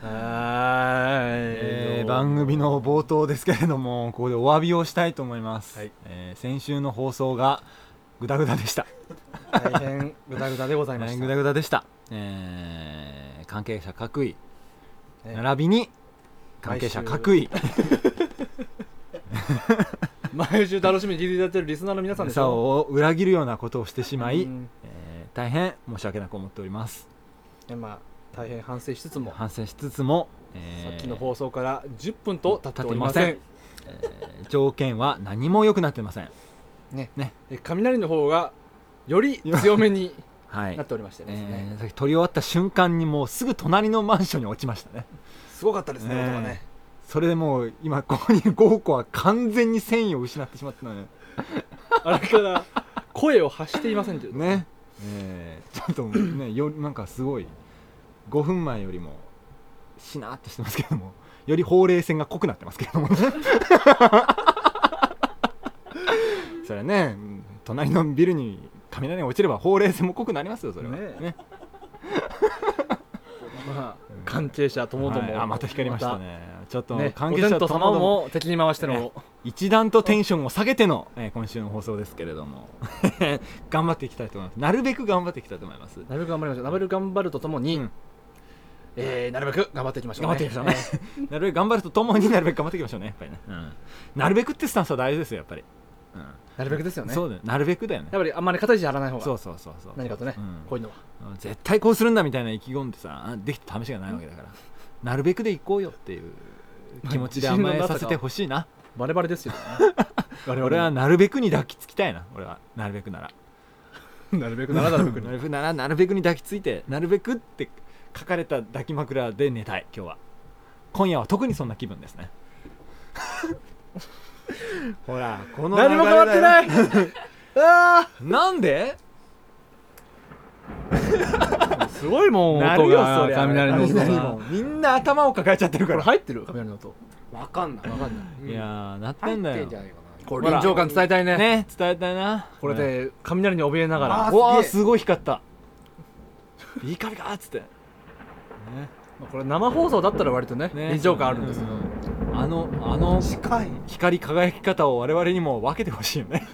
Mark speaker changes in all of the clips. Speaker 1: はい、
Speaker 2: えー番組の冒頭ですけれどもここでお詫びをしたいと思います、
Speaker 1: はい
Speaker 2: えー先週の放送がグダグダでした
Speaker 1: 大変グダグダでございま
Speaker 2: 大
Speaker 1: し
Speaker 2: 変
Speaker 1: た
Speaker 2: グダグダでした、えー関係者各位
Speaker 1: ね
Speaker 2: 並びに関係者各位
Speaker 1: 毎週楽しみに聞いていただいてるリスナーの皆さんでし
Speaker 2: 差
Speaker 1: ょ
Speaker 2: を裏切るようなことをしてしまい、
Speaker 1: うん
Speaker 2: えー大変申し訳なく思っております
Speaker 1: ねまあ、大変反省しつつも、
Speaker 2: 反省しつつも、えー
Speaker 1: さっきの放送から10分と経っておりま
Speaker 2: 経
Speaker 1: せ
Speaker 2: っ
Speaker 1: ん
Speaker 2: てえー条件は何も良くなってません
Speaker 1: え雷の方がより強めに
Speaker 2: はい
Speaker 1: なっておりましてですね、
Speaker 2: えーさっき撮り終わった瞬間にもうすぐ隣のマンションに落ちましたね
Speaker 1: すごかったですね
Speaker 2: ね
Speaker 1: 音がね
Speaker 2: それでもう今ここに5個は完全に繊維を失ってしまったので
Speaker 1: あれから声を発していませんという
Speaker 2: ね、えーちょっともうねよりなんかすごい5分前よりもしなーっとしてますけどもよりほうれい線が濃くなってますけども それはねうん隣のビルに雷が落ちればほうれい線も濃くなりますよそれは
Speaker 1: ね
Speaker 2: ね
Speaker 1: まあ、関係者ともど
Speaker 2: はい
Speaker 1: も、
Speaker 2: あまた光りましたねちょっと
Speaker 1: またね
Speaker 2: 関係者
Speaker 1: お天
Speaker 2: と
Speaker 1: 道
Speaker 2: も
Speaker 1: 様
Speaker 2: ども
Speaker 1: も敵に回しての、
Speaker 2: 一段とテンションを下げての、えー今週の放送ですけれども 頑張っていきたいと思いますなるべく頑張っていきたいと思います
Speaker 1: なるべく頑張りましょうなるべく頑張るとともに、
Speaker 2: うん
Speaker 1: えーなるべく頑張っていきましょう、ね、
Speaker 2: 頑張っていきましょうね、なるべく頑張るとともになる べく頑張っていきましょうねやっぱりね、うんなるべくってスタンスは大事ですよやっぱり、うん
Speaker 1: なるべくですよね
Speaker 2: そうだよなるべくだよね
Speaker 1: やっぱりあんまり肩肘張らない方が
Speaker 2: そうそうそうそう
Speaker 1: 何かとね、
Speaker 2: うん
Speaker 1: こういうのは
Speaker 2: うん絶対こうするんだみたいな意気込んでさあできた試しがないわけだから、なるべくでいこうよっていう気持ちで甘えさせてほしいな
Speaker 1: バレバレですよ、ね、 我々
Speaker 2: 俺はなるべくに抱きつきたいな俺はなるべくなら
Speaker 1: なるべくならなるべく
Speaker 2: な
Speaker 1: に
Speaker 2: るべくならなるべくに抱きついてなるべくって書かれた抱き枕で寝たい今日は今夜は特にそんな気分 ですねほらこの流れ
Speaker 1: 何も変わってないあ
Speaker 2: なんで
Speaker 1: あすごいもん
Speaker 2: なる
Speaker 1: 音
Speaker 2: よ
Speaker 1: が
Speaker 2: そりゃ
Speaker 1: 雷の音が
Speaker 2: 雷もみんな頭を抱えちゃってる
Speaker 1: こ
Speaker 2: か
Speaker 1: れ
Speaker 2: ら
Speaker 1: 入ってる雷の音
Speaker 3: わかんない
Speaker 1: わかんない
Speaker 2: いやーなって
Speaker 3: 入
Speaker 2: んだ
Speaker 3: って
Speaker 2: よ
Speaker 3: んじゃないか
Speaker 1: こ
Speaker 2: ほ
Speaker 1: れ
Speaker 2: ら
Speaker 1: 臨場感伝えたいね
Speaker 2: ね伝えたいな
Speaker 1: これで雷に怯えながら
Speaker 3: あ
Speaker 2: うわ
Speaker 3: あ
Speaker 2: ー
Speaker 3: す
Speaker 2: すごい光 ったいい光かっつってね
Speaker 1: まあこれ生放送だったら割とね
Speaker 2: ね
Speaker 1: 臨場感あるんですけど、
Speaker 2: うんあのあの
Speaker 3: な近い
Speaker 2: 光り輝き方を我々にも分けてほしいよ ね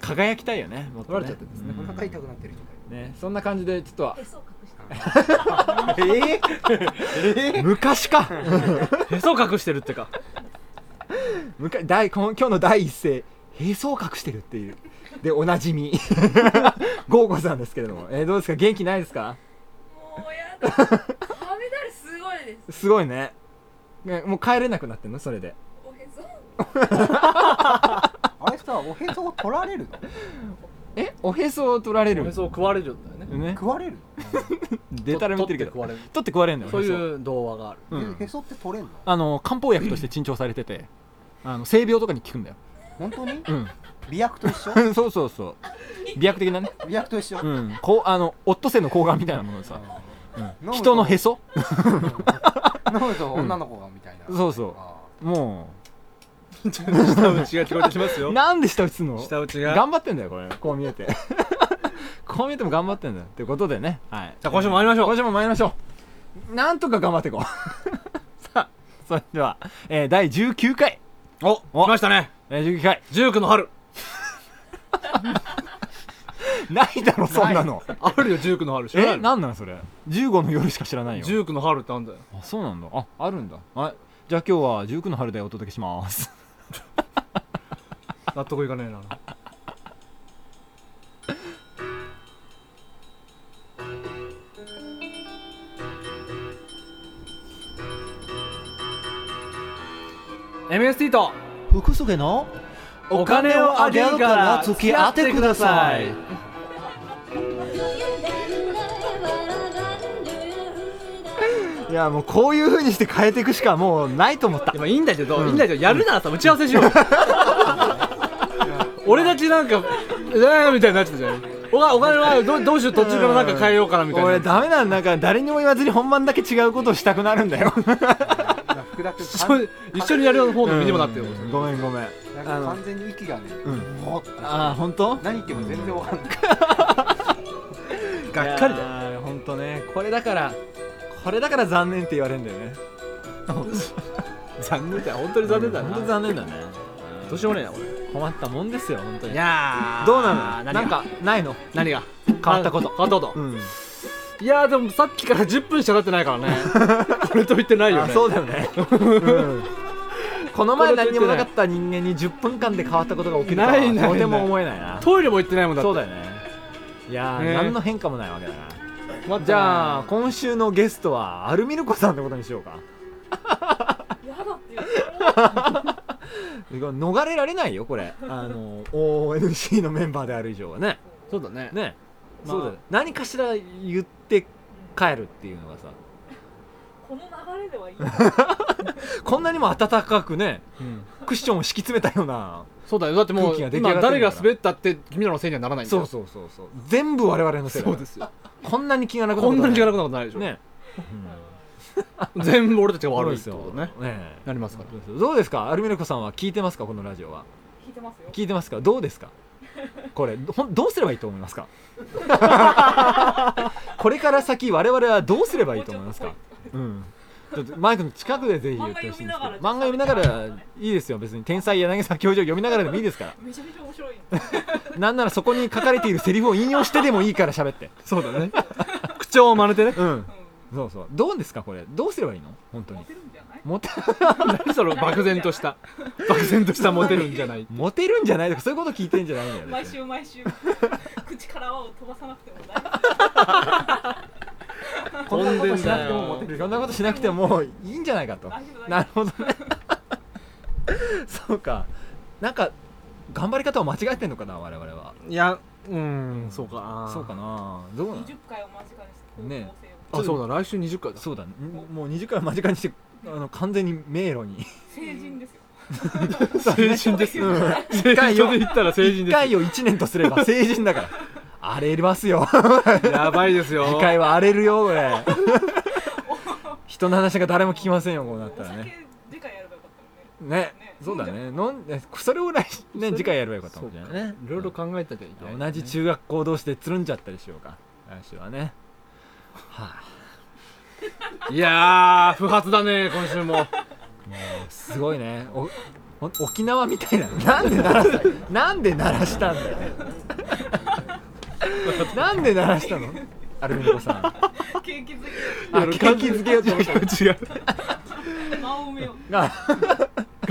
Speaker 2: 輝きたいよねもっと
Speaker 1: 取
Speaker 2: ね
Speaker 1: られちゃってるんですね
Speaker 2: う
Speaker 3: お腹痛くなってる
Speaker 2: ねそんな感じでちょっとは
Speaker 4: へそを隠して
Speaker 3: え
Speaker 2: 昔か
Speaker 1: へそ隠してるってか
Speaker 2: 昔第この今日の第一声へそを隠してるっていうでおなじ みゴーゴさんですけれども、えーどうですか元気ないですか
Speaker 4: もうやだ雷すごいです
Speaker 2: すごいねねもう帰れなくなってんのそれで
Speaker 4: おへそ
Speaker 3: あれさおへそを取られるの
Speaker 2: えおへそを取られ
Speaker 1: お
Speaker 2: る
Speaker 1: へそを食われるんだよね
Speaker 2: ね
Speaker 3: 食われる
Speaker 2: デタラメ言ってるけど
Speaker 1: 取って食われる
Speaker 2: 取って食われるんだよ
Speaker 1: そう
Speaker 2: おへ
Speaker 1: いう童話がある
Speaker 2: そ
Speaker 3: の、
Speaker 2: う
Speaker 3: えへ
Speaker 2: ん、
Speaker 3: そって取れんの
Speaker 2: あの漢方薬として陳重されててあの性病とかに効くんだよ
Speaker 3: 本当に
Speaker 2: うん
Speaker 3: 美薬と一緒
Speaker 2: そうそうそう美薬的なね
Speaker 3: 美薬と一緒、
Speaker 2: うんこうあのオットセイの睾丸みたいなものでさ、うん
Speaker 3: 飲むと
Speaker 2: 人のへそ
Speaker 3: 飲むと女の子がみたいな、
Speaker 2: そうそう
Speaker 3: あ
Speaker 2: も
Speaker 1: 舌打 ちが聞こえてきます
Speaker 2: う
Speaker 1: よ
Speaker 2: なんで下打つの
Speaker 1: 舌打ちが
Speaker 2: 頑張ってんだよこれこう見えて こう見えても頑張ってんだよってことでねはい
Speaker 1: じゃあ今週も参りましょう
Speaker 2: 今週も参りましょうなんとか頑張っていこう さあそれでは、えー第19回
Speaker 1: お来ましたね
Speaker 2: えー19回
Speaker 1: 19の春
Speaker 2: ないだろそんなの
Speaker 1: あるよ19の春知
Speaker 2: え
Speaker 1: らない
Speaker 2: なんなんそれ15の夜しか知らないよ
Speaker 1: 19の春ってあるんだよ
Speaker 2: あそうなんだああるんだはいじゃあ今日は19の春でお届けします
Speaker 1: 納得いかねえなエ MST と
Speaker 3: ー福助の
Speaker 1: お金をあげるから付き合ってください
Speaker 2: いやもうこういうふうにして変えていくしかもうないと思った
Speaker 1: でもいいんだけど、いいんだけどやるならさ打ち合わせしようよ俺たちなんかえーみたいになっちゃったじゃんお金お金はどどうしよう途中からなんか変えようかなみたいな
Speaker 2: 俺ダメなんだから誰にも言わずに本番だけ違うことをしたくなるんだよ
Speaker 3: 福田君
Speaker 1: 一緒に一緒にやる方の身に もなってよ、
Speaker 2: うんごめんごめん
Speaker 3: 完
Speaker 2: あの
Speaker 3: 完全に息がね、
Speaker 2: ん
Speaker 3: もうって
Speaker 2: ああ本当
Speaker 3: 何言っても全然わかんない、
Speaker 1: がっかりだよ
Speaker 2: だよ本当ねこれだからこれだから残念って言われるんだよね
Speaker 1: 残念だよ本当に残念だな
Speaker 5: 本当に残念だね
Speaker 1: どうしようもねえなこれ
Speaker 5: 困ったもんですよ本当に
Speaker 1: いやー
Speaker 2: どうなの
Speaker 1: 何
Speaker 2: なん
Speaker 1: が
Speaker 2: かないの
Speaker 1: 何が
Speaker 2: 変わったこと
Speaker 1: 変わったこと
Speaker 2: ん
Speaker 1: いやーでもさっきから10分しか経ってないからねこれと言ってないよ
Speaker 2: あ
Speaker 1: ね
Speaker 2: そうだよ ね、うんこの前何にもなかった人間に10分間で変わったことが起きるとは
Speaker 1: ないないない
Speaker 2: とても思えないな
Speaker 1: トイレも行ってないもんだって
Speaker 2: そうだよねいやー、
Speaker 1: ね
Speaker 2: 何の変化もないわけだな
Speaker 1: 待って
Speaker 2: じゃあ今週のゲストはアルミルコさんってことにしようか
Speaker 4: やだっていう
Speaker 2: 逃れられないよこれあの ONC のメンバーである以上はね
Speaker 1: そうだね
Speaker 2: ね、
Speaker 1: まあ
Speaker 2: そうだよ何かしら言って帰るっていうのがさ
Speaker 4: この流れではいい
Speaker 2: こんなにも温かくね
Speaker 1: うん
Speaker 2: クッションを敷き詰めたような
Speaker 1: そうだよだっても
Speaker 2: 空気が
Speaker 1: う
Speaker 2: 出来上がっ
Speaker 1: 今
Speaker 2: てるから
Speaker 1: 誰が滑ったって君らのせいにはならないんだ
Speaker 2: そう
Speaker 1: よ
Speaker 2: そうそうそう全部我々のせいだ
Speaker 1: そ
Speaker 2: か
Speaker 1: う
Speaker 2: ら
Speaker 1: ですよ
Speaker 2: こんなに気がなく
Speaker 1: こんなに気がな
Speaker 2: く
Speaker 1: くなことないでしょ
Speaker 2: ね
Speaker 1: 全部俺たちが
Speaker 2: そう
Speaker 1: 悪い
Speaker 2: で
Speaker 1: っ
Speaker 2: す
Speaker 1: て
Speaker 2: よ
Speaker 1: ことね
Speaker 2: ね
Speaker 1: なりますから
Speaker 2: どうですかアルミルコさんは聞いてますかこのラジオは
Speaker 4: 聞いてますよ
Speaker 2: 聞いてますかどうですかこれほんどうすればいいと思 いますかこれから先我々はどうすればいいと思いますか、うん、ちょっとマイクの近くでぜひ言ってほしいんですけど漫画読みながらいいですよ別に「天才柳沢教授」読みながらでもいいですから
Speaker 4: めちゃめちゃ面白い
Speaker 2: なんならそこに書かれているセリフを引用してでもいいから喋って
Speaker 1: そうだね口調を真似てね
Speaker 2: うんそうそうどうですかこれどうすればいいの本当に
Speaker 4: モテるんじゃない
Speaker 2: モテ
Speaker 1: 何その漠然とした漠然としたモテるんじゃない
Speaker 2: モテるんじゃないとかそういうこと聞いてんじゃないんだよね
Speaker 4: 毎週毎週口から泡を飛ばさなくても大丈
Speaker 1: 飛んでんだよ
Speaker 2: そんなことしなくてもいいんじゃないかと
Speaker 4: 大丈夫大丈夫
Speaker 2: なるほどねそうかなんか頑張り方を間違えてんのかな我々はい
Speaker 1: やうんそうかな
Speaker 2: そうかなどうな
Speaker 4: 夫
Speaker 2: の
Speaker 4: 20回を間近にして高校生を
Speaker 2: ね
Speaker 1: あそうだ来週20回だ
Speaker 2: そうだ、ね、もう20回間近にしてあの完全に迷路に
Speaker 4: 成人ですよ
Speaker 1: 成人です
Speaker 4: うん
Speaker 1: 成人で言ったら成人
Speaker 2: 1
Speaker 1: で
Speaker 2: 回を1年とすれば成人だから荒れますよ
Speaker 1: すやばいですよ
Speaker 2: 次回は荒れるよこ れ人の話が誰も聞きませんよこうなった
Speaker 4: お
Speaker 2: ら
Speaker 4: 酒
Speaker 2: ね
Speaker 4: 次回やればよかった
Speaker 2: ね
Speaker 4: ね
Speaker 2: そうだね飲んでそれを来ね次回やればよかったもんじゃないね
Speaker 1: いろいろ考えたじゃいけない
Speaker 2: 同じ中学校同士でつるんじゃったりしようか来週はねはい
Speaker 1: やー不発だね今週も
Speaker 2: あ、すごいねおお沖縄みたいななんで鳴らしたなんで鳴らしたんだよなんで鳴らしたのアルミノさんあ
Speaker 4: ね景気づけ
Speaker 2: 景気づけようと思った
Speaker 1: 違う
Speaker 4: 間を埋めよう
Speaker 2: あ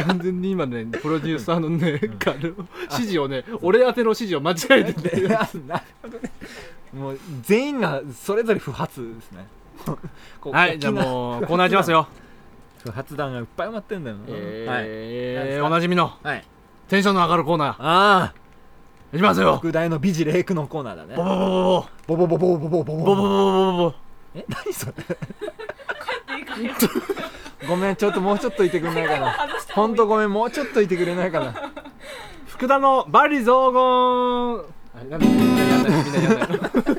Speaker 1: 完全に今ねプロデューサーのね、あの指示をね俺宛ての指示を間違えてて
Speaker 2: であなるほどねもう全員がそれぞれ不発ですねこう
Speaker 1: はいじゃあ
Speaker 2: 沖縄
Speaker 1: もうコーナーいきますよ
Speaker 2: 不発弾がいっぱい埋まってんだよな、はい
Speaker 1: え
Speaker 2: 何です
Speaker 1: ー、
Speaker 2: か
Speaker 1: おなじみの
Speaker 2: はい
Speaker 1: テンションの上がるコーナ
Speaker 2: ああ
Speaker 1: ーいきますよ
Speaker 2: 特大の美ジレイクのコーナーだね
Speaker 1: ボボボボ
Speaker 2: ボボボボボボボ
Speaker 1: ボボ
Speaker 2: ボ
Speaker 1: ボボボボボ
Speaker 2: え 何それ
Speaker 4: いいかげん
Speaker 2: ごめんちょっともうちょっといてくれないかな
Speaker 4: 外した方
Speaker 2: ほん
Speaker 4: がいい
Speaker 2: とごめんもうちょっといてくれないかな
Speaker 1: 福田のバリ雑言あれなんでみんなやんないみんなやんない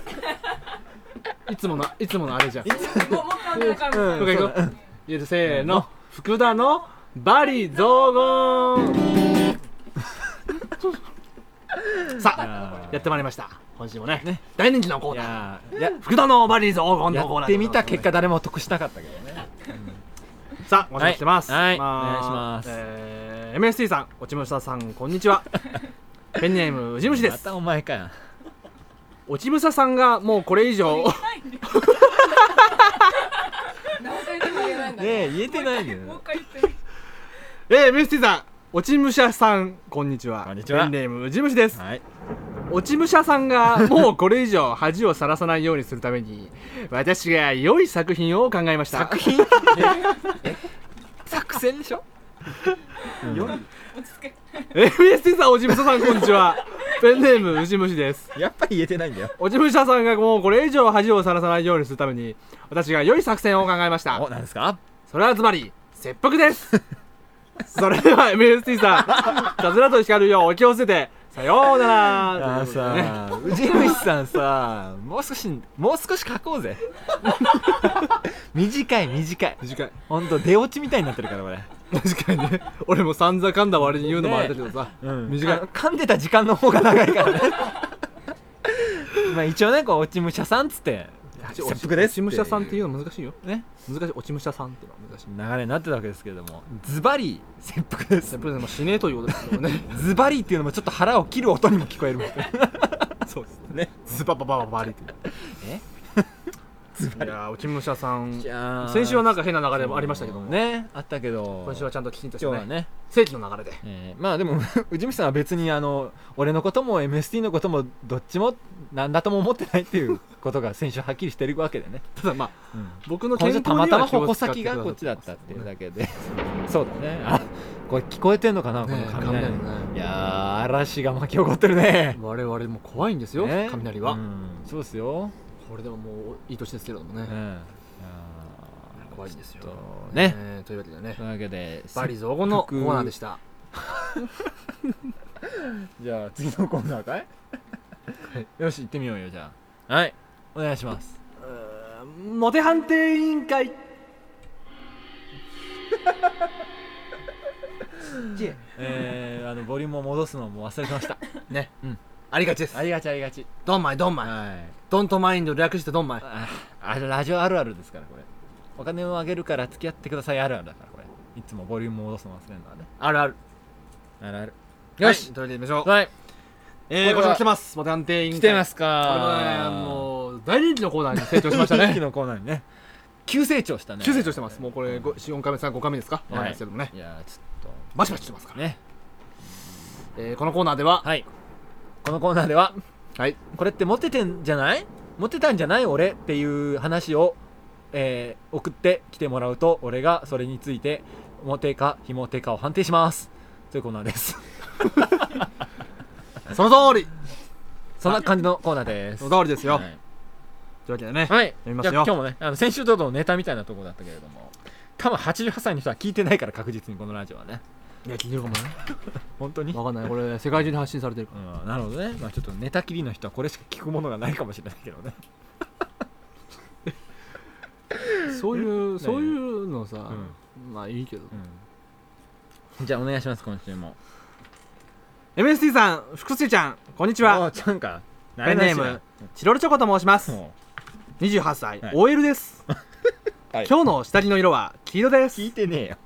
Speaker 1: いつものいつものあれじゃん
Speaker 4: もうもう一回もう一回も
Speaker 1: 福田行
Speaker 4: う一
Speaker 1: こうゆるせーの福田のバリ雑言さあやってまいりました今週もね
Speaker 2: ね
Speaker 1: 大人気のコー
Speaker 2: い
Speaker 1: ナー
Speaker 2: やーや
Speaker 1: 福田のバリ雑言のコーナーでござい
Speaker 2: や
Speaker 1: ま
Speaker 2: っ
Speaker 1: す
Speaker 2: てみた結果誰も得しなかったけどね
Speaker 1: さあお待ちしてます
Speaker 2: はい
Speaker 1: まあ
Speaker 2: お願いします
Speaker 1: えー MST さん落ち武者さんこんにち はペンネームうじ虫で
Speaker 2: ますたお前かよ
Speaker 1: 落ち武者さんがもうこれ以上
Speaker 4: ないんだよ何回でも言えないんだ
Speaker 2: ねえ言えてないよ
Speaker 4: もう一回言ってみ
Speaker 1: えー、メスティさん、落ち武者さん、こんにちは。
Speaker 2: こんにちは
Speaker 1: ペンネーム、ジムシです。
Speaker 2: はい
Speaker 1: 落ち武者さんが、もうこれ以上恥をさらさないようにするために、私が良い作品を考えました。作 品
Speaker 2: 作戦でしょ
Speaker 4: 落ち着け
Speaker 1: えー、メスティさん、落ち武者さん、こんにち は。ペンネーム、ジムシです。
Speaker 2: やっぱり言えてないんだよ
Speaker 1: 落ち武者さんがもうこれ以上恥をさらさないようにするために、私が良い作戦を考えました
Speaker 2: お。なんですか
Speaker 1: それはつまり、切腹です。それでは、MST さん、カズラと光るようお気をつけて、さようなら。
Speaker 2: あ
Speaker 1: とい
Speaker 2: ー
Speaker 1: うことでね
Speaker 2: さ宇治虫さんさもう少しもう少し書こう ぜ短い短い
Speaker 1: 短い。
Speaker 2: ほんと出落ちみたいになってるからこれ
Speaker 1: 確かにね俺もさんざかんだ割に言うのもあれだけどさ、短い
Speaker 2: あの噛んでた時間の方が長いからねまあ一応ねこう落ち武者さんっつって切腹です
Speaker 1: 落ち武者さんっていうの難しいよね難しい落ち武者さんっていうのは難しい
Speaker 2: 流れになってたわけですけれどもズバリ切腹です
Speaker 1: やっぱりでも死ねえということですよね
Speaker 2: ズバリっていうのもちょっと腹を切る音にも聞こえるもん
Speaker 1: そうです
Speaker 2: ね
Speaker 1: ズバババババリって
Speaker 2: え
Speaker 1: ズバリいやー落ち武者さん
Speaker 2: じゃあ
Speaker 1: 先週はなんか変な流れもありましたけども
Speaker 2: ねあったけど
Speaker 1: 今週はちゃんときちんとして
Speaker 2: 今日は
Speaker 1: ね
Speaker 2: ね、
Speaker 1: 正規の流れで
Speaker 2: えーまあでも 宇治美さんは別にあの俺のことも MST のこともどっちも何だとも思ってないっていうことが先週はっきりしてるわけでね、
Speaker 1: ただまあ
Speaker 2: うん
Speaker 1: 僕の
Speaker 2: こ
Speaker 1: 健
Speaker 2: れじ
Speaker 1: 康
Speaker 2: ゃ
Speaker 1: に
Speaker 2: たまたま
Speaker 1: は気を
Speaker 2: 矛
Speaker 1: 使って
Speaker 2: 先
Speaker 1: くださ
Speaker 2: がこっちだったっていうだけで そうだねあこれ聞こえてんのか
Speaker 1: ね
Speaker 2: な、この
Speaker 1: 雷
Speaker 2: 雷
Speaker 1: ね
Speaker 2: いやー嵐が巻き起こってるね
Speaker 1: 我々も怖いんですよ
Speaker 2: ね
Speaker 1: 雷は
Speaker 2: うんそうですよ、
Speaker 1: これでももういい年ですけれども
Speaker 2: うん
Speaker 1: ね
Speaker 2: いやー
Speaker 1: 怖いんですよ
Speaker 2: ちょっとね
Speaker 1: えーというわけでね
Speaker 2: というわけで
Speaker 1: バリ雑言のコーナーでした
Speaker 2: じゃあ次のコーナーかい、よし行ってみようよじゃあはいお願いし ます
Speaker 1: モテ判定委員会
Speaker 2: えー、あのボリュームを戻すのも忘れてました
Speaker 1: ね
Speaker 2: うん
Speaker 1: ありがちです
Speaker 2: ありがちありがち
Speaker 1: ドンマイドンマイ
Speaker 2: はい
Speaker 1: ドントマインド略してドンマイ
Speaker 2: ああラジオあるあるですからこれお金をあげるから付き合ってくださいあるあるだからこれいつもボリュームを戻すの忘れるのはね
Speaker 1: あるある
Speaker 2: あるあるよ
Speaker 1: よ
Speaker 2: し
Speaker 1: しというわけでいきましょう
Speaker 2: はい、
Speaker 1: えーこちら来てますモテ判定委員
Speaker 2: 来
Speaker 1: 会
Speaker 2: てますす
Speaker 1: これ
Speaker 2: か
Speaker 1: はねもう大人気のコーナーに成長しま した
Speaker 2: 人気
Speaker 1: ね
Speaker 2: のコーナーにね急成長したね
Speaker 1: 急成長してますもうこれ4回目3 5回目ですかわかんないですけどもね
Speaker 2: いやーちょっ
Speaker 1: バチバチしてますか
Speaker 2: と
Speaker 1: ら
Speaker 2: ね
Speaker 1: えーこのコーナーでは
Speaker 2: はいこのコーナーでは
Speaker 1: はい
Speaker 2: これってモテてんじゃないモテたんじゃない俺っていう話を、えー送ってきてもらうと俺がそれについてモテか非モテかを判定しますというコーナーです
Speaker 1: その通り
Speaker 2: そんな感じのコーナーです
Speaker 1: その通りですよ
Speaker 2: はい
Speaker 1: というわけでね
Speaker 2: はい、
Speaker 1: みます
Speaker 2: じゃ
Speaker 1: よ
Speaker 2: あ今日もねあの先週とのネタみたいなところだったけれども多分88歳の人は聞いてないから確実にこのラジオはね
Speaker 1: いや聞いてるかもね
Speaker 2: 本当に、
Speaker 1: わかんないこれ世界中で発信されてるか
Speaker 2: うん、なるほどね、まあ、ちょっとネタ切りの人はこれしか聞くものがないかもしれないけどね
Speaker 1: らそういうそういうのさ
Speaker 2: う
Speaker 1: まあいいけど
Speaker 2: じゃあお願いします今週も
Speaker 1: MST さん福助ちゃんこんにち
Speaker 2: お
Speaker 1: は
Speaker 2: ーちゃんか慣
Speaker 1: ペンネー
Speaker 2: れないしな
Speaker 1: ムチロルチョコと申します
Speaker 2: も
Speaker 1: 28歳、
Speaker 2: はい
Speaker 1: OL です、
Speaker 2: はい
Speaker 1: 今日の下着の色は黄色で
Speaker 2: う聞い
Speaker 1: す
Speaker 2: てね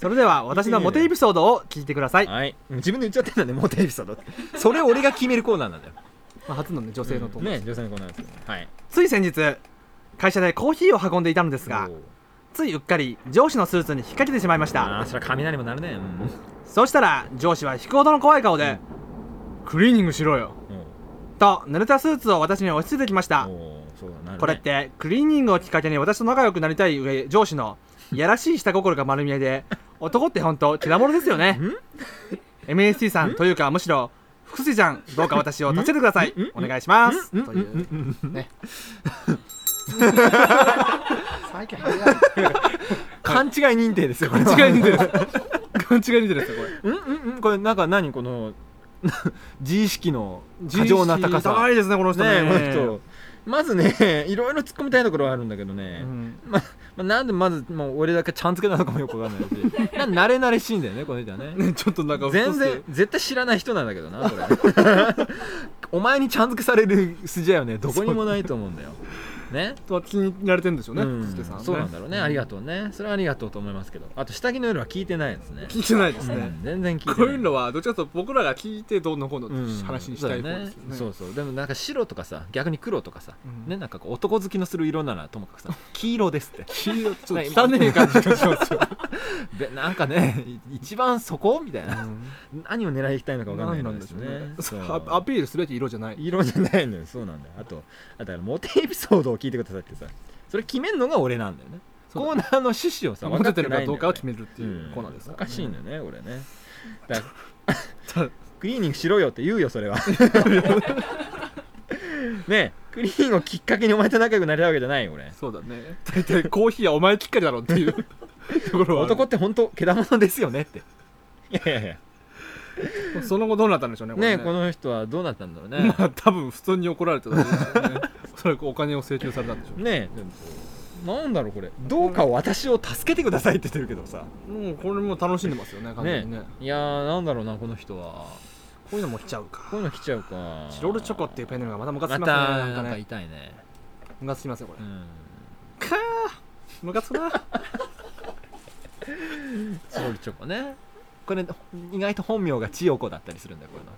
Speaker 1: それでは私のモテエピソードを聞いてくださ
Speaker 2: え
Speaker 1: い、
Speaker 2: よ
Speaker 1: ま
Speaker 2: はい自分で言っちゃってんだねモテエピソー ドってそれ俺が決めるコーナーなんだよ
Speaker 1: あ、初のね女性のと、
Speaker 2: ね女性のコーナーですよはい
Speaker 1: つい先日会社でコーヒーを運んでいたのですが
Speaker 2: おー
Speaker 1: ついうっかり上司のスーツに引っ掛けてしまいました
Speaker 2: ああそれは雷もなるねうん
Speaker 1: そうしたら上司は引くほどの怖い顔で、クリーニングしろよと濡れたスーツを私に押し付けてきました
Speaker 2: おーそうだなるね
Speaker 1: これってクリーニングをきっかけに私と仲良くなりたい上上司のいやらしい下心が丸見え で男って本当きらものですよね MST さんというかむしろ福水ちゃんどうか私を助けてくださいお願いしますというね
Speaker 3: 最近早い
Speaker 2: 勘違い認定ですよこれは
Speaker 1: 違いに出る勘違いに出るやつだこれ
Speaker 2: うんうんうんこれなんか何この 自意識の過剰な高さ
Speaker 1: 高いですねこの人ね
Speaker 2: ねえこの人まずねいろいろ突っ込みたいところはあるんだけどね、
Speaker 1: うん
Speaker 2: ままなんでまずもう俺だけちゃん付けなのかもよくわかんない しな慣れ慣れしいんだよねこの人はね
Speaker 1: ねちょっとなんか
Speaker 2: 全然絶対知らない人なんだけどなこれ お前にちゃん付けされる筋合いはねどこにもないと思うんだよね
Speaker 1: ちょっと気に入られてるんでしょうね、
Speaker 2: うん
Speaker 1: 福助さんね
Speaker 2: そうなんだろうね、ありがとうねそれはありがとうと思いますけどあと下着の夜は聞いてないですね
Speaker 1: 聞いてないですね、
Speaker 2: うん全然聞いてない
Speaker 1: こういうのはどっちかというと僕らが聞いてどうのこうのって
Speaker 2: うん
Speaker 1: 話にしたい方ですよね,、
Speaker 2: そうだそうそうでもなんか白とかさ逆に黒とかさ、
Speaker 1: うん
Speaker 2: ねなんかこう男好きのする色ならと もかくさ黄色ですって
Speaker 1: 黄色 ちょっと汚ねえ感じがしますよ、
Speaker 2: でなんかねい一番そこみたいな、何を狙い行きたいのか分かんない
Speaker 1: 何なん
Speaker 2: ん
Speaker 1: で
Speaker 2: です
Speaker 1: し
Speaker 2: よ
Speaker 1: ょう
Speaker 2: ね
Speaker 1: ね
Speaker 2: そう
Speaker 1: そうアアピールすべき色じゃない
Speaker 2: 色じゃないのよそうなんだよあとあとあのモテエピソードを聞いてくださいってさそれ決めるのが俺なんだよね
Speaker 1: そう
Speaker 2: コーナーの趣旨をさ
Speaker 1: モテてるか
Speaker 2: 分
Speaker 1: どう
Speaker 2: っ
Speaker 1: かを
Speaker 2: ないんだよね
Speaker 1: 決めるっていうコーナーです
Speaker 2: うん
Speaker 1: から
Speaker 2: お
Speaker 1: ね
Speaker 2: かしいんだよね俺 ねだから
Speaker 1: ただ
Speaker 2: クリーニングしろよって言うよそれは ねえクリーニングをきっかけにお前と仲良くなりたいわけじゃないよ俺
Speaker 1: そうだね大体コーヒーはお前きっかりだろっていう ところはある
Speaker 2: 男って本当けだものですよねっていやいやいや
Speaker 1: その後どうなったんでしょうね
Speaker 2: ねえ
Speaker 1: こ
Speaker 2: こ
Speaker 1: れね
Speaker 2: の人はどうなったんだろうね
Speaker 1: まあ 多分普通に怒られてただけですよね おそらくお金を請求されたんでしょ
Speaker 2: ねえでもなんだろうこれどうか私を助けてくださいって言ってるけどさ
Speaker 1: うもうこれも楽しんでますよね完全
Speaker 2: ね
Speaker 1: にね
Speaker 2: えいやーなんだろうなこの人は
Speaker 1: こういうのも来ちゃうか
Speaker 2: こういうの来ちゃうか
Speaker 1: チロルチョコっていうペンネームがまたムカつき
Speaker 2: ま
Speaker 1: ま
Speaker 2: た
Speaker 1: すねなん
Speaker 2: な
Speaker 1: か
Speaker 2: んか
Speaker 1: ね
Speaker 2: 痛いね
Speaker 1: ムカつきますよこれ
Speaker 2: うん
Speaker 1: かームカつくな
Speaker 2: チョリチョコねこれ意外と本名が千代子だったりするんだよこれの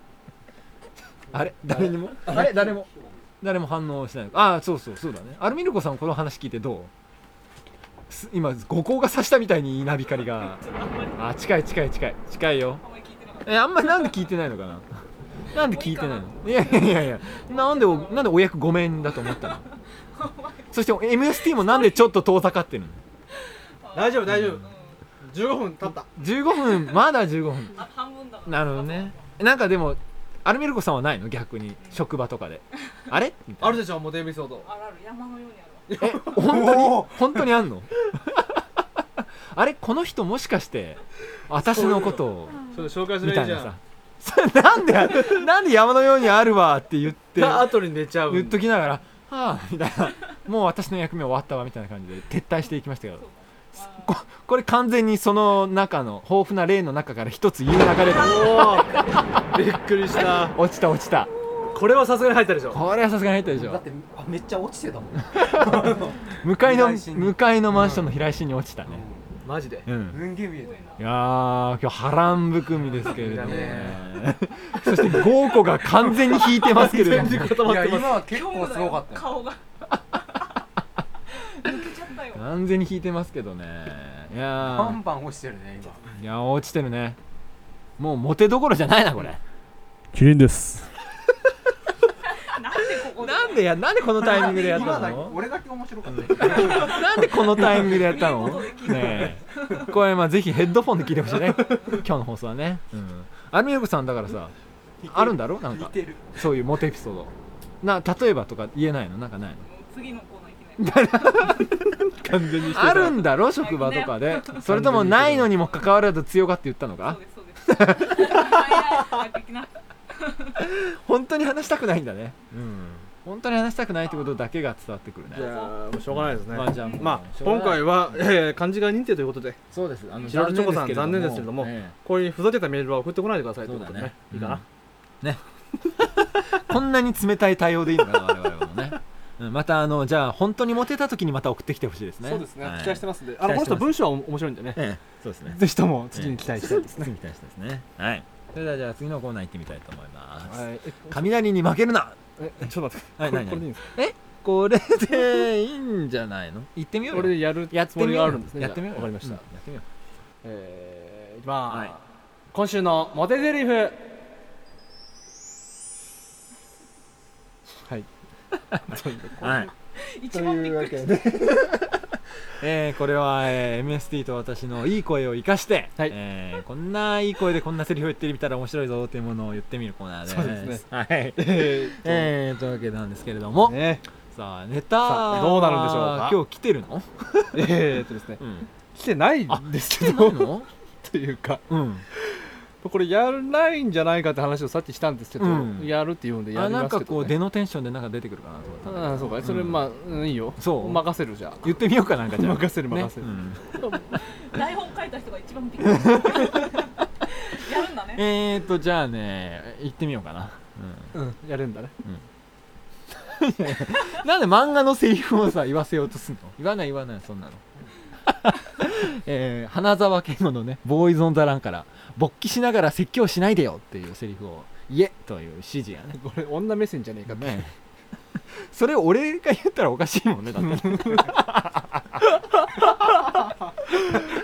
Speaker 2: あれ誰にもあれ誰も誰も反応しないああそうそうそうだねアルミルコさんこの話聞いてどうす今五光が刺したみたいに稲光があー近い近い近い近いよえあんまりなんで聞いてないの かななんで聞いてないのいやいやいやいやなんでおなんでお役ごめんだと思った のそして MST もなんでちょっと遠ざかってるの
Speaker 1: 大丈夫大丈夫15分経った
Speaker 2: 15分まだ15分
Speaker 4: あ半分だ
Speaker 2: なるほどねなんかでもアルミルコさんはないの逆に職場とかであれみたい
Speaker 1: あ
Speaker 2: な
Speaker 1: るでしょモテエピソード
Speaker 4: あるある山のようにあるわ
Speaker 2: え本当に本当にあんの あれこの人もしかして私のことを
Speaker 1: それ紹介す
Speaker 2: み
Speaker 1: る
Speaker 2: た
Speaker 1: ゃ
Speaker 2: い
Speaker 1: じ
Speaker 2: な
Speaker 1: ゃ
Speaker 2: さそれなんでなんで山のようにあるわって言って
Speaker 1: んあとに寝ちゃう
Speaker 2: 言っときながら「はあ」みたいなもう私の役目終わったわみたいな感じで撤退していきましたけどすここれ完全にその中の豊富な例の中から一つ言う流れが
Speaker 1: おーびっくりした
Speaker 2: 落ちた落ちた
Speaker 1: これはさすがに入ったでしょ
Speaker 2: これはさすがに入ったでし
Speaker 3: だっ
Speaker 2: ょ
Speaker 3: てあめっちゃ落ちてたもん
Speaker 2: 向かいの
Speaker 3: 平井心
Speaker 2: 向かいのマンションの平石に落ちたね
Speaker 1: マジで
Speaker 2: うん
Speaker 3: 文芸見え
Speaker 2: いやー今日波乱含みですけれども
Speaker 1: だ
Speaker 2: ねそして豪子が完全に引いてますけれども
Speaker 1: 全然固
Speaker 3: た
Speaker 1: ま
Speaker 3: い
Speaker 1: っ
Speaker 3: や
Speaker 1: て
Speaker 3: 今
Speaker 1: ます
Speaker 3: は結構すごかったよ
Speaker 4: 顔が抜けちゃったよ
Speaker 2: 完全に引いてますけどねい
Speaker 3: バ
Speaker 2: や
Speaker 3: ンバン落ちてるね今
Speaker 2: ーいやー落ちてるねもうモテどころじゃないなこれ
Speaker 5: キリンです
Speaker 4: なんでここ
Speaker 2: なんでやなんでこのタイミングでやった
Speaker 3: 今だ
Speaker 2: の
Speaker 3: 俺だけ面白かったよ
Speaker 2: なんでこのタイミングでやった
Speaker 4: 見事
Speaker 2: の
Speaker 4: で聞いた
Speaker 2: ねえこれまあぜひヘッドフォンで聞いてほしいね今日の放送はね、うん、アルミルクさんだからさあるんだろなん
Speaker 3: 似
Speaker 2: か
Speaker 3: てる
Speaker 2: そういうモテエピソードな例えばとか言えないのなんかないの
Speaker 4: 次のコーナーいきなり
Speaker 1: 完全に
Speaker 2: あるんだろ職場とかでそれともないのにもかかわらず強がって言ったの
Speaker 4: そう
Speaker 2: か
Speaker 4: ですそうです早い的な
Speaker 2: 本当に話したくないんだねうん本当に話したくないってことだけが伝わってくるね
Speaker 1: じゃあもうしょうがないですね
Speaker 2: まあじゃあもう
Speaker 1: まあ
Speaker 2: しょうがない
Speaker 1: 今回はえー漢字が認定ということで
Speaker 2: そうですあの
Speaker 1: 白鳥チョコさん残念ですけれども
Speaker 2: ええ
Speaker 1: こういうふざけたメールは送ってこないでくださいと
Speaker 2: そ
Speaker 1: いううこ
Speaker 2: だ
Speaker 1: とでね
Speaker 2: ね。
Speaker 1: いいかな。
Speaker 2: うんね。 こんなに冷たい対応でいいのかな、我々もね。うんまたあのじゃあ本当にモテた時にまた送ってきてほしいですね。はい
Speaker 1: ますんで。あのこの
Speaker 2: 期待して
Speaker 1: 人
Speaker 2: ます
Speaker 1: 文章は面白いんでね。
Speaker 2: ええそうで すね。
Speaker 1: ぜひとも次に期待したいですね。
Speaker 2: 次に期待したいですね。はい。それではじゃあ次のコーナー行ってみたいと思います。
Speaker 1: はい。え
Speaker 2: 雷に負けるな。
Speaker 1: ええちょっと待って。
Speaker 2: はい
Speaker 1: これ
Speaker 2: 何
Speaker 1: これでいいんですか
Speaker 2: これでいいんじゃないの？行ってみよう
Speaker 1: これ
Speaker 2: よ。
Speaker 1: でやる
Speaker 2: やっ
Speaker 1: つ
Speaker 2: て
Speaker 1: も
Speaker 2: み
Speaker 1: り
Speaker 2: よ
Speaker 1: があ
Speaker 2: う
Speaker 1: る
Speaker 2: よ
Speaker 1: んですね。
Speaker 2: やってみよう
Speaker 1: わか
Speaker 2: よ。
Speaker 1: りまし
Speaker 2: うん
Speaker 1: た
Speaker 2: や。ってみよう。
Speaker 1: えーいきま
Speaker 2: は
Speaker 1: す
Speaker 2: い。
Speaker 1: 今週のモテゼリフ。はい。
Speaker 2: はい。
Speaker 4: 一番びっくりした
Speaker 2: えーこれは、えー MST と私のいい声を生かして、
Speaker 1: はい
Speaker 2: えーこんないい声でこんなセリフを言ってみたら面白いぞというものを言ってみるコーナーです。
Speaker 1: そうです
Speaker 2: ね。はい。
Speaker 1: えー
Speaker 2: えーというわけなんですけれども、
Speaker 1: ね、
Speaker 2: さあネタ
Speaker 1: さあどうなるんでしょうか
Speaker 2: 今日来てるの？
Speaker 1: えーっとですね
Speaker 2: うん。
Speaker 1: 来てないんですけ
Speaker 2: 来てな
Speaker 1: ど
Speaker 2: いの？
Speaker 1: と いうか
Speaker 2: うん。
Speaker 1: これやらないんじゃないかって話をさっきしたんですけど、
Speaker 2: うん
Speaker 1: やるって言うんでや
Speaker 2: あ
Speaker 1: り
Speaker 2: なん
Speaker 1: ます
Speaker 2: か
Speaker 1: け
Speaker 2: こ
Speaker 1: ど、
Speaker 2: う
Speaker 1: ね、
Speaker 2: 出のテンションでなんか出てくるかなと思ったんだけど。
Speaker 1: ああそうかそれ
Speaker 2: うん
Speaker 1: まあ、うんいいよ
Speaker 2: そう
Speaker 1: 任せるじゃあ
Speaker 2: 言ってみようかなんかじゃあ。
Speaker 1: 任せる任せる
Speaker 2: ねうん
Speaker 4: 台本書いた人が一番びっくりしたやるんだね
Speaker 2: えーとじゃあね行ってみようかな。うん
Speaker 1: うんやるんだね
Speaker 2: なんで漫画のセリフをさ言わせようとすんの言わない言わないそんなの えー花沢健吾のね「ボーイズ・オン・ザ・ラン」から「勃起しながら説教しないでよ」っていうセリフを「言え」という指示がね
Speaker 1: これ女目線じゃねえかって、
Speaker 2: ねそれ俺が言ったらおかしいもんねだってね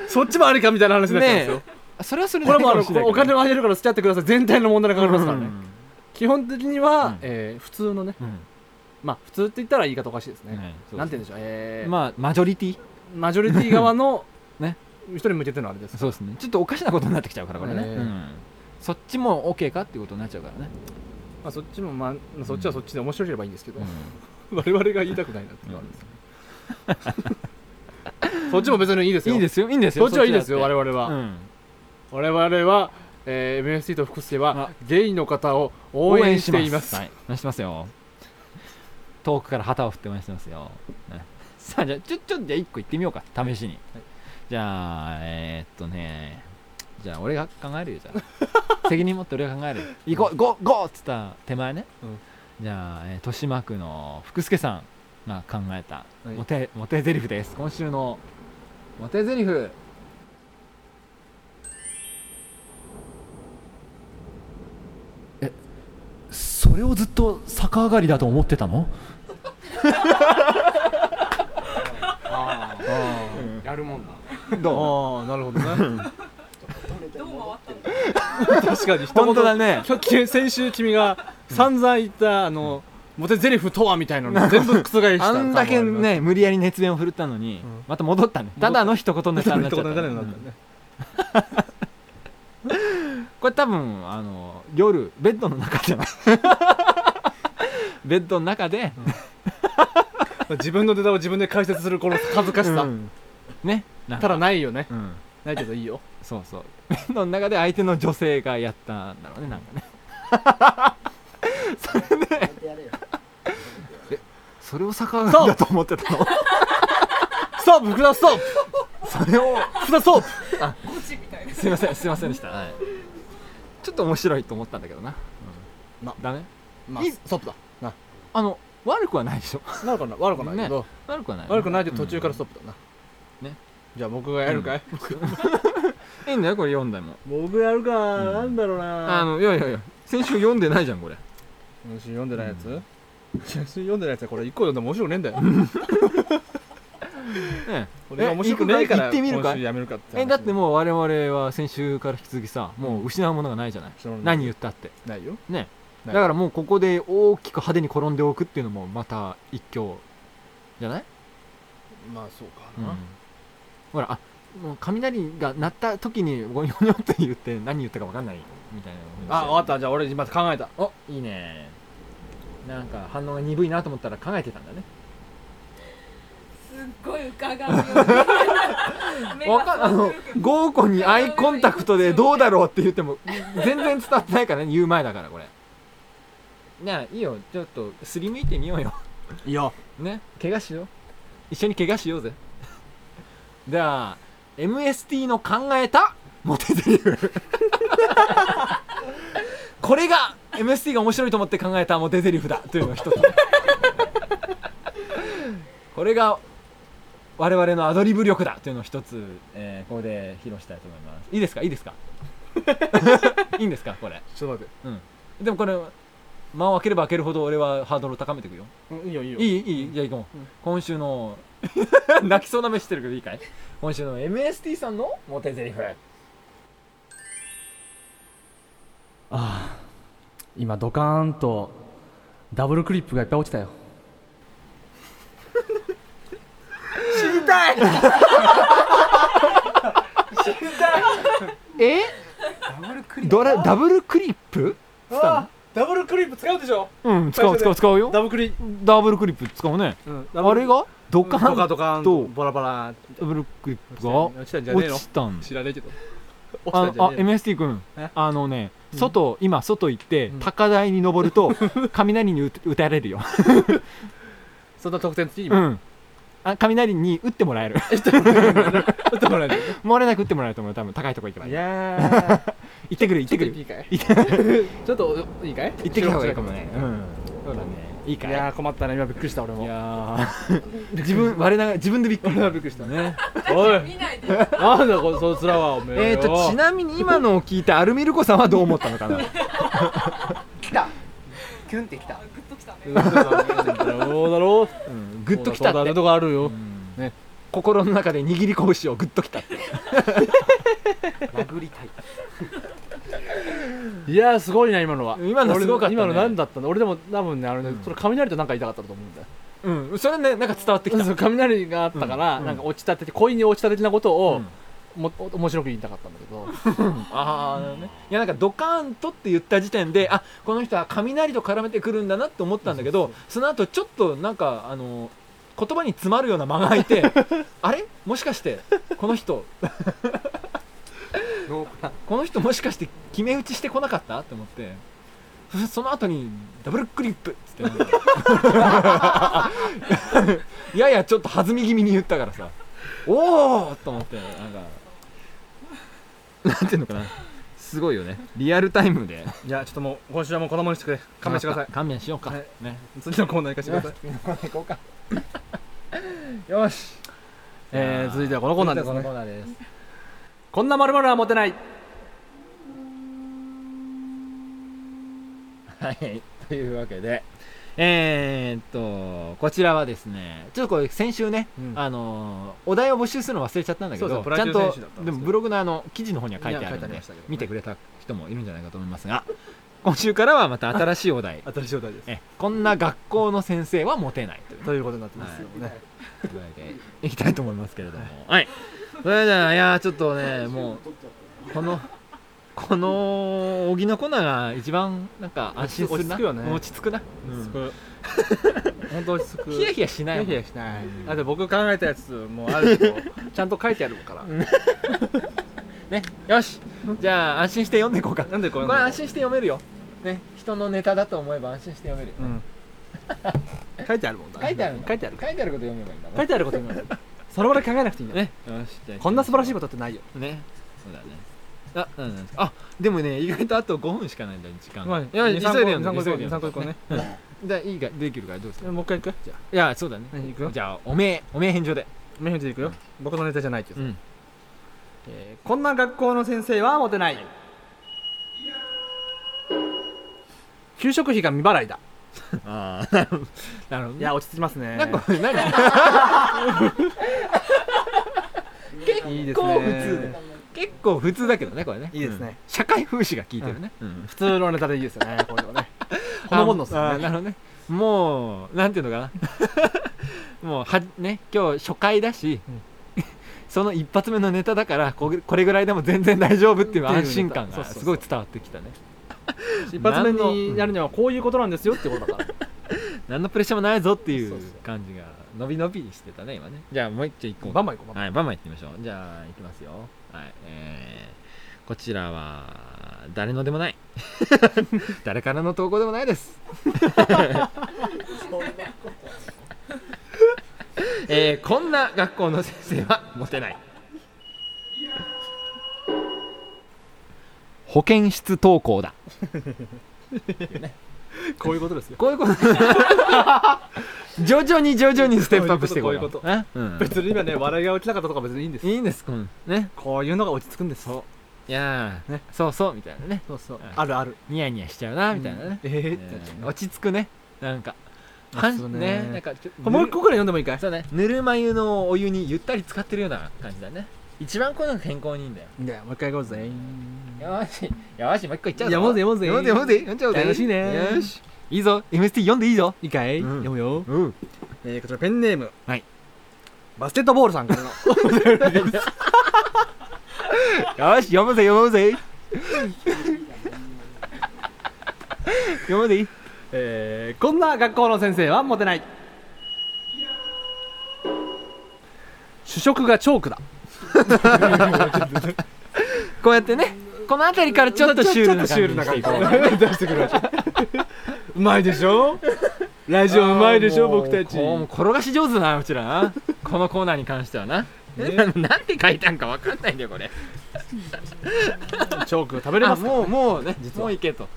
Speaker 1: そっちもありかみたいな話になっちゃうんですよ、
Speaker 2: それはそれ
Speaker 1: これもあの
Speaker 2: 面白い
Speaker 1: お
Speaker 2: けど
Speaker 1: 金をあげるから付き合ってください全体の問題がかかりますからね、
Speaker 2: うん
Speaker 1: 基本的には、
Speaker 2: うん
Speaker 1: えー普通のね
Speaker 2: うん
Speaker 1: まあ普通って言ったら言い方おかしいですね、
Speaker 2: はいそうそう
Speaker 1: なんて言うんでしょうえー
Speaker 2: まあマジョリティ
Speaker 1: マジョリティ側 の
Speaker 2: ね
Speaker 1: 人に向けてのあれです
Speaker 2: そうですねちょっとおかしなことになってきちゃうからこれね、
Speaker 1: えー
Speaker 2: うんそっちも OK かっていうことになっちゃうからね、
Speaker 1: まあ、そっちも、まあまあ、そっちはそっちで面白ければいいんですけど、
Speaker 2: うん
Speaker 1: 我々が言いたくないなっていうのがあるんですよ、そっちも別にいいですよ
Speaker 2: いいですよいいんですよ
Speaker 1: そっちはいいですよ
Speaker 2: そっちだって
Speaker 1: 我々は、
Speaker 2: うん
Speaker 1: 我々は、えー、MST と福助は
Speaker 2: あ
Speaker 1: ゲイの方を応援しています
Speaker 2: はい、応援してますよ遠くから旗を振って応援してますよ、ね さあじゃあちょちょっとじゃあ1個行ってみようか試しに、じゃあえー、っとねじゃあ俺が考えるよじゃあ 責任持って俺が考える行こうゴーゴーっつった手前ね、
Speaker 1: うん
Speaker 2: じゃあ、えー豊島区の福助さんまあ、考えた、
Speaker 1: はい
Speaker 2: モテモテゼリフです今週のモテゼリフえそれをずっと逆上がりだと思ってたの
Speaker 3: ああやるもんな
Speaker 2: どう
Speaker 1: ああなるほどね
Speaker 4: どう回ったの
Speaker 1: 確かに一
Speaker 2: 本当だね
Speaker 1: きょき先週君が散々言ったあのモテゼリフとはみたいなの全部覆した
Speaker 2: あんだけね無理やり熱弁を振るったのに、
Speaker 1: うん
Speaker 2: また戻ったねただの一言ネタになっちゃった
Speaker 1: なるほどね
Speaker 2: これ多分あの夜ベッドの中じゃ ないベッドの中で、
Speaker 1: 自分のネタを自分で解説するこの恥ずかしさ、
Speaker 2: うんねなんか
Speaker 1: ただないよね
Speaker 2: うん、
Speaker 1: ないけどいいよ
Speaker 2: そうそうベッドの中で相手の女性がやったんだろうねなんかねそ れでえそれを逆上がりだと思ってたの
Speaker 1: ストップ福田ストップ
Speaker 2: それを
Speaker 1: 福田ストップ
Speaker 4: ゴチみたいな
Speaker 2: すいませんすいませんでした、はいちょっと面白いと思ったんだけどな、うん
Speaker 1: ま
Speaker 2: ダメ
Speaker 1: まあストップだな
Speaker 2: あの悪くはないでしょ
Speaker 1: なるかな悪くないけど、
Speaker 2: 悪くはないよね
Speaker 1: 悪くないけど途中からストップだな、
Speaker 2: うんね
Speaker 1: じゃあ僕がやるかい、
Speaker 2: いいんだよこれ読んでも
Speaker 1: 僕やるか、
Speaker 2: うん
Speaker 1: なんだろう
Speaker 2: あ
Speaker 1: な
Speaker 2: のいやいやいや先週読んでないじゃん これ
Speaker 1: 今週読んでないやつ、今週読んでないやつはこれ一個読んでも面白くねえんだよ
Speaker 2: ね
Speaker 1: これが面白くねえから
Speaker 2: 行ってみるか
Speaker 1: 今週やめるかって話
Speaker 2: えだってもう我々は先週から引き続きさもう失うものがないじゃない
Speaker 1: そうなんです
Speaker 2: 何言ったって
Speaker 1: ないよ
Speaker 2: ね
Speaker 1: な
Speaker 2: だ
Speaker 1: い
Speaker 2: からもうここで大きく派手に転んでおくっていうのもまた一興じゃない、
Speaker 1: まあそうか
Speaker 2: うん
Speaker 1: な、
Speaker 2: ほらあもう雷が鳴った時にゴニョゴニョって言って何言ったか分かんないみたいな
Speaker 1: あ分かったじゃあ俺今考えた
Speaker 2: おいいねなんか反応が鈍いなと思ったら考えてたんだね
Speaker 4: すっごい 伺うように目
Speaker 2: わ
Speaker 4: が
Speaker 2: かんあの
Speaker 4: そうするけど
Speaker 2: ゴーコにアイコンタクトでどうだろうって言っても全然伝わってないからね言う前だからこれねえいいよちょっとすりむいてみようよ
Speaker 1: いや
Speaker 2: ね怪我しよう一緒に怪我しようぜ じゃあ MST の考えたモテゼリフ これが MST が面白いと思って考えたモテゼリフだというのを一つ これが我々のアドリブ力だというのを一つ、えーここで披露したいと思いますいいですかいいで すかいいんですかこれ
Speaker 1: ちょっと待っ
Speaker 2: うんでもこれ間を開ければ開けるほど俺はハードルを高めていくよ
Speaker 1: てうんいいよいいよ
Speaker 2: いいいいじゃあ行こう、
Speaker 1: うん
Speaker 2: 今週の 泣きそうな目してるけどいいかい今週の MST さんのモテゼリフ
Speaker 6: ああ今ドカーンとダブルクリップがいっぱい落ちたよ
Speaker 2: え
Speaker 3: ダブルクリ
Speaker 2: ドラダブルクリップ
Speaker 1: あーダブルクリップ使うでしょ
Speaker 2: うん使う使う使うよ
Speaker 1: ダブルクリップ、
Speaker 2: ダブルクリップ使うね
Speaker 1: うん、ダブ
Speaker 2: あ
Speaker 1: ル
Speaker 2: れがドカーン
Speaker 1: ドカドカーン
Speaker 2: と
Speaker 1: とバラバラ
Speaker 2: ダブルクリップ
Speaker 1: 落
Speaker 2: が
Speaker 1: ちたんじゃねえ
Speaker 2: 落
Speaker 1: の
Speaker 2: ちたん
Speaker 1: 知らねえけど落
Speaker 2: あ
Speaker 1: ちた
Speaker 2: の
Speaker 1: んじゃね
Speaker 2: あ
Speaker 1: えの
Speaker 2: MST 君
Speaker 1: え
Speaker 2: あのね
Speaker 1: うん
Speaker 2: 外、今外行って、
Speaker 1: うん
Speaker 2: 高台に登る と雷に打打たれるよ、
Speaker 1: そんな特典的に
Speaker 2: う
Speaker 1: 今
Speaker 2: ん、あ雷に打って もらえる
Speaker 1: 打ってもらえる
Speaker 2: 漏れなく打ってもらえると思う多分高いとこ行けばいい
Speaker 1: やー
Speaker 2: 行ってく る行ってくる
Speaker 1: いいかいちょっといい かい
Speaker 2: 行ってきた方がいいかもね。うん。そうだね。いいか
Speaker 1: い
Speaker 2: い。
Speaker 1: やー困ったな今びっくりした俺
Speaker 2: い
Speaker 1: も
Speaker 2: やー自分我ながら自分でびっくり。
Speaker 1: 俺はびっくりした
Speaker 2: ね。
Speaker 1: おい
Speaker 4: 見ないでよ
Speaker 1: なんだこそいつらはおめえ
Speaker 2: えーとちなみに今のを聞いてアルミルコさんはどう思ったのか な。
Speaker 3: 来たキュンってき た
Speaker 4: グッときたね
Speaker 1: どうだろ
Speaker 2: うん。
Speaker 1: う
Speaker 2: グッときた
Speaker 1: そうだ
Speaker 2: っ て
Speaker 1: と。こあるよ
Speaker 2: うん
Speaker 1: ね
Speaker 2: 心の中で握り拳をグッときたって。
Speaker 3: 殴りたい
Speaker 1: いやーすごいな今のは
Speaker 2: 今のすごかったね
Speaker 1: 俺今の何だったの俺でも多分ねあれねそれ雷となんか痛かったと思うんだよ
Speaker 2: うん。それねなんか伝わってきた。
Speaker 1: そう雷があったから、
Speaker 2: うん
Speaker 1: なんか落ちたって恋に落ちた的なことを、
Speaker 2: うん
Speaker 1: もお面白く言いたかったんだけど
Speaker 2: ああね。いやなんかドカーンとって言った時点であこの人は雷と絡めてくるんだなって思ったんだけどその後ちょっとなんかあの言葉に詰まるような間が空いて あれもしかしてこの人
Speaker 3: 濃厚な
Speaker 2: この人もしかして決め打ちしてこなかったと思ってそその後にダブルクリップっつってなん かややちょっと弾み気味に言ったからさおおと思ってなんかなんていうのかなすごいよねリアルタイムで
Speaker 1: じゃあちょっともう今週はもう子供にしてくれ勘弁してくださ
Speaker 2: 勘弁しようか、
Speaker 1: はい
Speaker 2: ね
Speaker 1: い次のコーナー行かせてください
Speaker 3: 行こうか
Speaker 2: よし
Speaker 1: えー、続いてはこのコーナーです
Speaker 2: 続
Speaker 1: ね
Speaker 2: いてはこのコーナーです
Speaker 1: こんな丸々は持てない
Speaker 2: はい、というわけで、えー、っと、こちらはですね、ちょっとこれ、先週ね、
Speaker 1: うん
Speaker 2: あのーお題を募集するの忘れちゃったんだけ
Speaker 1: そうそ
Speaker 2: ど、
Speaker 1: うプロ
Speaker 2: ちゃ
Speaker 1: 野
Speaker 2: ん
Speaker 1: 球選手だ
Speaker 2: と
Speaker 1: ったんですけど
Speaker 2: でもブログのあの記事の方には書いてあ
Speaker 1: い
Speaker 2: る
Speaker 1: や書いて
Speaker 2: ん
Speaker 1: あり
Speaker 2: で、
Speaker 1: ましたけどね
Speaker 2: 見てくれた人もいるんじゃないかと思いますが、今週からはまた新しいお題、
Speaker 1: 新しいお題です
Speaker 2: えこんな学校の先生はモテないというね
Speaker 1: ということになってますよね、
Speaker 2: というわけでいきたいと思いますけれども、はい、それじゃあ、いやー、ちょっとね、もう、この、この荻のコーナーが一番なんか安心するな
Speaker 1: 落ち着くよね
Speaker 2: 落ち着くな
Speaker 1: 落ち着く本当落ち着く
Speaker 2: ヒヤヒヤしな
Speaker 1: ヒ
Speaker 2: いも
Speaker 1: ヤ
Speaker 2: ん
Speaker 1: ヒヤしないだって僕考えたやつもあるけど ちゃんと書いてあるから
Speaker 2: ね、よしじゃあ安心して読んでいこうかこ
Speaker 1: なんでこ
Speaker 2: れ
Speaker 1: れ
Speaker 2: 安心して読めるよね人のネタだと思えば安心して読めるよ
Speaker 1: うん書いてあるもんだ
Speaker 2: 書いてあるんだ
Speaker 1: 書いてある
Speaker 2: 書いてあること読めばいいんだもん
Speaker 1: 書いてあること今それまで考えなくていいんだよね
Speaker 2: よしじゃあ
Speaker 1: こんな素晴らしいことってないよ
Speaker 2: ねそうだねあ、うん、あでもね意外とあと5分しかないんだよ時間が、いや急いで読んで
Speaker 1: 23個
Speaker 2: 急いで
Speaker 1: 23個行
Speaker 2: 読ん
Speaker 1: こうね
Speaker 2: でいいかできるからどうする
Speaker 1: もう一回行くじゃ
Speaker 2: いやそうだね
Speaker 1: あね行くよ
Speaker 2: じゃあおめえおめえ返上で
Speaker 1: メンヘで行くよ僕のネタじゃないけど
Speaker 2: うん
Speaker 1: えーこんな学校の先生はモテない給食費が未払いだ
Speaker 2: あ あなるほどなるほど
Speaker 1: いや落ち着きますね
Speaker 2: なんか 何
Speaker 1: いいです
Speaker 2: 結構普
Speaker 1: ね
Speaker 2: 通で結構普通だけどねこれね
Speaker 1: いいですね
Speaker 2: うん社会風刺が効いてるね、うん
Speaker 1: 普通のネタでいいですよ ねこれはねこのもんのっす
Speaker 2: ああな
Speaker 1: ね
Speaker 2: るほどねもうなんていう のかなもうはね今日初回だし、
Speaker 1: うん
Speaker 2: その一発目のネタだからここれぐらいでも全然大丈夫っていう
Speaker 1: っていうネ
Speaker 2: 安
Speaker 1: タ
Speaker 2: 心感
Speaker 1: そう
Speaker 2: が
Speaker 1: そうそう
Speaker 2: すごい伝わってきたね
Speaker 1: 一発目にやるにはこういうことなんですよってことだから
Speaker 2: 何のプレッシャーもないぞってい
Speaker 1: そうそうう
Speaker 2: 感じが伸び伸びしてたね今ねじゃあもう一丁一個
Speaker 1: バンバン行こうバン
Speaker 2: はいバンバンいってみましょうじゃあいきますよはいえー、こちらは誰のでもない 誰からの投稿でもないです えー、こんな学校の先生はモテない保健室登校だ
Speaker 1: バン こういうことですよ
Speaker 2: こういうこと徐々に徐々にステップアップしていこうよ
Speaker 1: こういうこと
Speaker 2: ねうん
Speaker 1: 別に今ね笑いが落ちなかったとか別にいいんですよ
Speaker 2: いいんですうんね
Speaker 1: こういうのが落ち着くんですそう
Speaker 2: いやー、
Speaker 1: ね
Speaker 2: そうそうみたいなね
Speaker 1: そうそう
Speaker 2: はい
Speaker 1: あるある
Speaker 2: ニヤニヤしちゃうなみたいなね、
Speaker 1: ええ
Speaker 2: え
Speaker 1: ってなっちゃう
Speaker 2: ー落ち着くねなんか
Speaker 1: あ
Speaker 2: はん
Speaker 1: そう
Speaker 2: ね
Speaker 1: ね
Speaker 2: なんかちょ
Speaker 1: これもう一個ぐらい読んでもいいかい
Speaker 2: そうねぬるま湯のお湯にゆったり浸かってるような感じだね一番こういうのが健康にいいんだよ
Speaker 1: いやもう一回行こうぜ
Speaker 2: よーしよーしもう一個いっちゃうぞ
Speaker 1: やもうぜやもうぜ
Speaker 2: やもうぜやもうぜ読んじゃおうぜ
Speaker 1: 楽しいね
Speaker 2: よーしいいぞ MST 読んでいいぞ
Speaker 1: いいかい
Speaker 2: うん
Speaker 1: 読むよ
Speaker 2: うん
Speaker 1: えーこちらペンネーム
Speaker 2: はい
Speaker 1: バスケットボールさんからの
Speaker 2: よーし読むぜ読む ぜ読むでいい
Speaker 1: えーこんな学校の先生はモテない主食がチョークだ
Speaker 2: こうやってねこの辺りからちょっとシュールな感じにしていこう
Speaker 1: 出してくるわけうまいでし ょラジオうまいでしょ僕たち
Speaker 2: もう転がし上手だなうちらなこのコーナーに関してはな、 なんて書いたんかわかんないんだよこれ
Speaker 1: チョーク食べれますか
Speaker 2: もうもうね
Speaker 1: は
Speaker 2: もういけと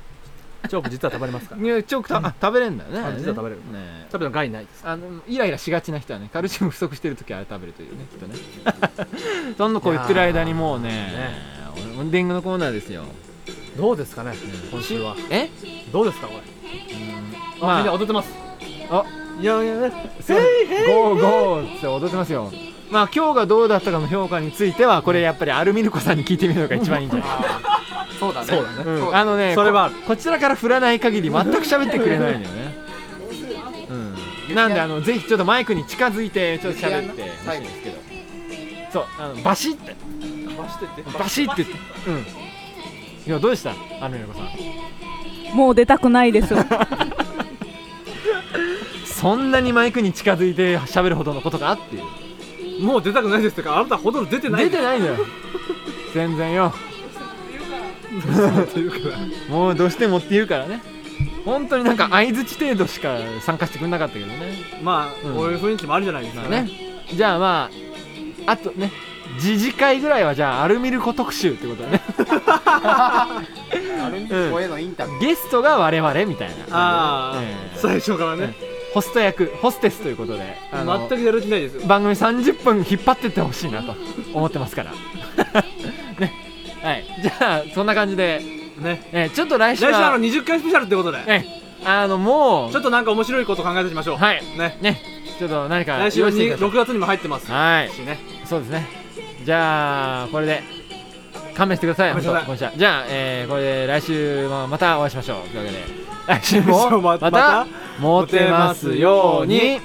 Speaker 1: チョーク実は食べれますから
Speaker 2: いやチョークた、あ食べれんだよね
Speaker 1: あ実は食べれる
Speaker 2: ねね
Speaker 1: 食べたの害ないです
Speaker 2: あのイライラしがちな人はねカルシウム不足してる時はあれ食べるというねきっと ねどんどんこう言ってる間にもうねねエンディングのコーナーですよ
Speaker 1: どうですかね今週は
Speaker 2: え
Speaker 1: どうですかこれ
Speaker 2: ま
Speaker 1: みんな
Speaker 2: あ
Speaker 1: 踊ってます
Speaker 2: あ
Speaker 1: いやいや
Speaker 2: そうゴーゴーって踊ってますよまあ今日がどうだったかの評価についてはこれやっぱりアルミルコさんに聞いてみるのが一番いいんじゃない
Speaker 1: そうだねそうだね
Speaker 2: うんあのね
Speaker 1: それはある
Speaker 2: ここちらから振らない限り全く喋ってくれないんだよね、うん、なんであのぜひちょっとマイクに近づいてちょっと喋ってほしいんですけどそうあのバシッて
Speaker 1: バシって
Speaker 2: バシッて言ってうんいやどうでしたあのよこさん
Speaker 4: もう出たくないです。
Speaker 2: そんなにマイクに近づいて喋るほどのことかっていう
Speaker 1: もう出たくないですとかあなたほとんど出てない
Speaker 2: 出てないんだよ全然よ
Speaker 1: というか
Speaker 2: もうどうしてもって言うからね本当になんか相づち程度しか参加してくれなかったけどね
Speaker 1: まあ
Speaker 2: うん
Speaker 1: こういう雰囲気もあるじゃないですか
Speaker 2: ねじゃあまああとね次次回ぐらいはじゃあアルミルコ特集ってことだね
Speaker 7: アルミルコへのインタビュー
Speaker 2: ゲストが我々みたいな
Speaker 1: ああ
Speaker 2: ええ
Speaker 1: 最初からね
Speaker 2: ホスト役ホステスということであの
Speaker 1: 全くやる気ないです
Speaker 2: 番組30分引っ張ってってほしいなと思ってますから ねはいじゃあそんな感じで、
Speaker 1: ね
Speaker 2: えーちょっと来週
Speaker 1: 来週
Speaker 2: は
Speaker 1: あの20回スペシャルってことで
Speaker 2: えーあのもう
Speaker 1: ちょっとなんか面白いこと考えていきましょう
Speaker 2: はい
Speaker 1: ね
Speaker 2: ねちょっと何か
Speaker 1: 来週は
Speaker 2: 用意して
Speaker 1: に
Speaker 2: ください
Speaker 1: 6月にも入ってます
Speaker 2: はい
Speaker 1: しね
Speaker 2: そうですねじゃあこれで勘弁してください
Speaker 1: 勘弁してください
Speaker 2: 本当こんにちはじゃあ、えーこれで来週もまたお会いしましょうというわけで来週
Speaker 1: そ
Speaker 2: も
Speaker 1: うま
Speaker 2: ま
Speaker 1: た
Speaker 2: たモテますように